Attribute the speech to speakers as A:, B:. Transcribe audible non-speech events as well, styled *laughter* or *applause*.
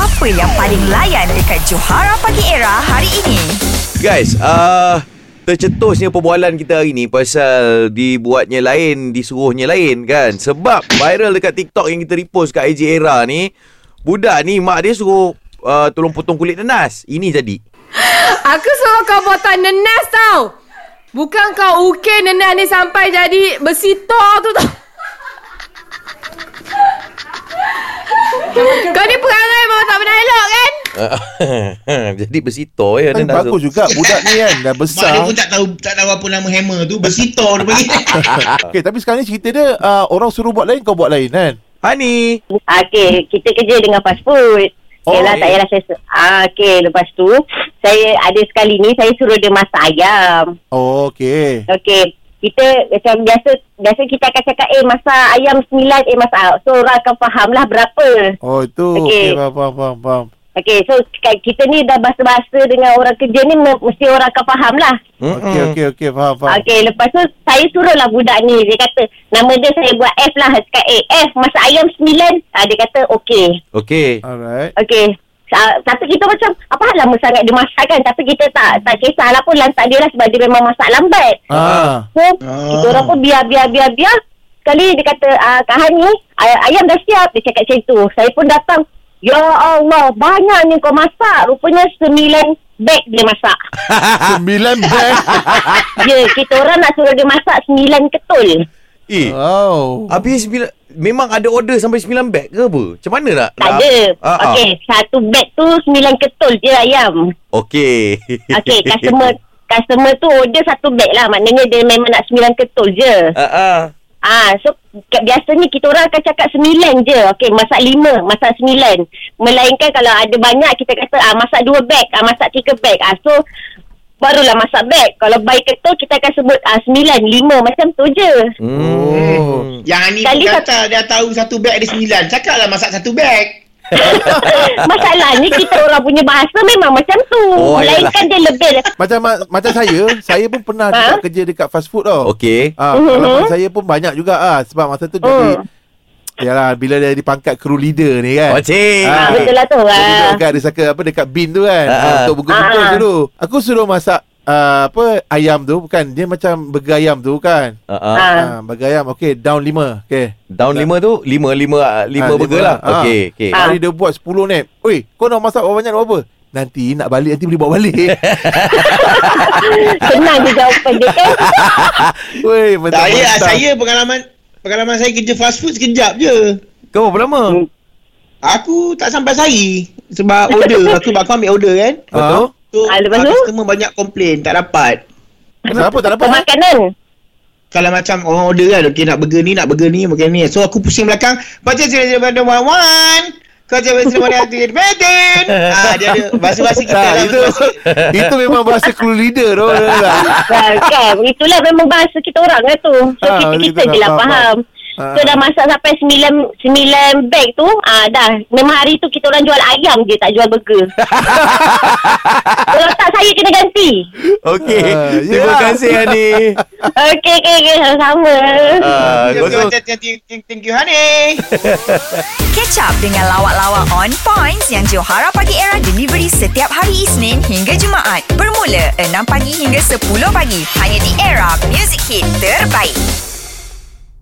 A: Apa yang paling layan dekat Johara Pagi Era hari ini?
B: Guys, uh, tercetusnya perbualan kita hari ni pasal dibuatnya lain, disuruhnya lain kan. Sebab viral dekat TikTok yang kita repost kat IG Era ni, budak ni mak dia suruh uh, tolong potong kulit nanas. Ini jadi.
C: Aku suruh kau potong nenas tau. Bukan kau ukir nenas ni sampai jadi besi tok tu tau. kau ni perangai memang tak pernah elok kan?
B: jadi besito ya
D: Kan
B: nanas tu.
D: bagus juga budak ni kan dah
E: Mak dia
D: besar.
E: pun tak tahu tak tahu apa nama hammer tu. Besito dia panggil.
D: Okey tapi sekarang ni cerita dia uh, orang suruh buat lain kau buat lain kan.
B: Ha, Hani.
F: Ah, Okey, kita kerja dengan fast food.
D: Oh,
F: Yelah,
D: eh.
F: tak payahlah saya... su- Ah, Okey, lepas tu, saya ada sekali ni, saya suruh dia masak ayam.
D: Oh okey.
F: Okey, kita macam biasa, biasa kita akan cakap, eh, masak ayam 9, eh, masak... So, orang akan faham lah berapa.
D: Oh itu
F: Okey.
D: okey faham faham faham. faham.
F: Okey, so kat- kita ni dah bahasa-bahasa dengan orang kerja ni, me- mesti orang akan faham lah.
D: Okey okey okey faham faham.
F: Okey, lepas tu, saya suruhlah budak ni. Dia kata, nama dia saya buat F lah. Saya cakap, eh, F, masak ayam 9. Ah, dia kata, okey.
B: Okey.
D: Alright.
F: Okey. Sa- Tapi kita macam apa hal lama sangat dia masak kan Tapi kita tak tak kisahlah pun lantak dia lah Sebab dia memang masak lambat
D: Ah.
F: So kita orang pun biar biar biar biar Sekali dia kata ah, Kak Hani ay- ayam dah siap Dia cakap macam tu Saya pun datang Ya Allah banyak ni kau masak Rupanya sembilan beg dia
B: *laughs*
F: masak
D: Sembilan bag.
F: Ya kita orang nak suruh dia masak sembilan ketul
B: Eh,
D: Wow.
B: habis bila memang ada order sampai 9 beg ke apa? Macam mana nak?
F: Tak
B: nak-
F: ada
B: Ah, ah.
F: Okey satu beg tu sembilan ketul je ayam
B: Okey.
F: Okey, customer customer tu order satu beg lah. Maknanya dia memang nak sembilan ketul je.
B: *laughs* Ah ah.
F: Ah, so ke- biasanya kita orang akan cakap sembilan je. Okey, masak lima, masak sembilan. Melainkan kalau ada banyak kita kata ah masak dua beg, ah masak tiga beg. Ah so barulah masak beg. Kalau baik ketul kita akan sebut ah sembilan, lima macam tu *laughs* je.
D: *laughs* Oh.
B: Hmm.
E: Yang ni
F: Kali
E: pun
F: sat-
E: kata dia tahu satu beg ada sembilan. Cakap lah masak satu beg.
F: Masalahnya kita orang punya bahasa memang macam tu.
B: Oh,
F: Melainkan dia lebih
D: Macam ma- macam saya, saya pun pernah
F: Ha?
D: juga kerja dekat fast food tau.
B: Okey.
D: Ah,
F: Mhm.
D: pengalaman saya pun banyak juga ah sebab masa
F: Mm.
D: tu jadi Yalah bila dia di pangkat kru leader ni kan.
B: Oh, cik.
D: Ah,
F: Ah, betul lah tu.
D: Dia duduk
F: Ah.
D: dekat ada saka apa dekat bin tu kan.
B: Ah,
D: Ah,
B: ah.
D: untuk bungkus-bungkus
F: Ah, ah.
D: dulu. Aku suruh masak ah, apa ayam tu bukan dia macam burger ayam tu kan.
B: Ah, ah.
F: Ah.
D: Ah, burger ayam okey down 5. Okey.
B: Down lima tu Lima Lima Lima
D: Ah,
B: burger
D: lima
B: lah
D: lah. Ah.
B: Okey okay.
D: Hari dia buat 10 nap. Oi, kau nak masak banyak nak buat apa? Nanti nak balik nanti boleh buat
B: *laughs*
D: balik.
F: *laughs* Senang dia jawapan dia *laughs* kan.
D: Woi,
E: Saya
D: mentang-mentang.
E: saya pengalaman pengalaman saya kerja fast food sekejap je.
B: Kau berapa lama?
E: Aku tak sampai sehari
F: *laughs*
E: sebab order aku aku ambil order kan.
D: Betul?
E: So,
F: Ah, lepas
E: ah,
F: tu?
E: customer banyak komplain tak dapat.
D: Kenapa tak dapat? eh?
F: Pemakanan.
E: Kalau macam orang order kan Okay nak burger ni Nak burger ni Makan ni So aku pusing belakang Baca cerita daripada Wan Wan Kau cerita daripada
D: *laughs*
E: Wan Wan Ah Dia ada Bahasa-bahasa kita
D: Tak,
E: lah
D: Ah, itu itu memang bahasa crew leader tu. betul
B: *laughs*
D: tak?
F: Kan, kan. Itulah memang bahasa kita orang lah tu. So,
D: Ah,
F: kita,
D: betul,
F: kita
D: tak
F: je lah
D: faham,
F: faham.
D: faham.
F: So,
D: Ah.
F: dah masak sampai sembilan, sembilan bag tu, ah dah. Memang hari tu kita orang jual ayam je, tak jual burger. Kalau tak, saya kena ganti.
B: Okey.
D: Ah, ya.
B: Terima kasih
D: *laughs*
B: Ani.
F: Okey, okey, okey. Sama-sama.
D: Ya,
B: Ah,
E: Dia
B: kosong.
E: macam, "Thank you, Thank you honey
A: Catch up dengan lawak-lawak on points yang Johara Pagi Era delivery setiap hari Isnin hingga Jumaat. Bermula 6 pagi hingga 10 pagi. Hanya di Era Music Hit Terbaik.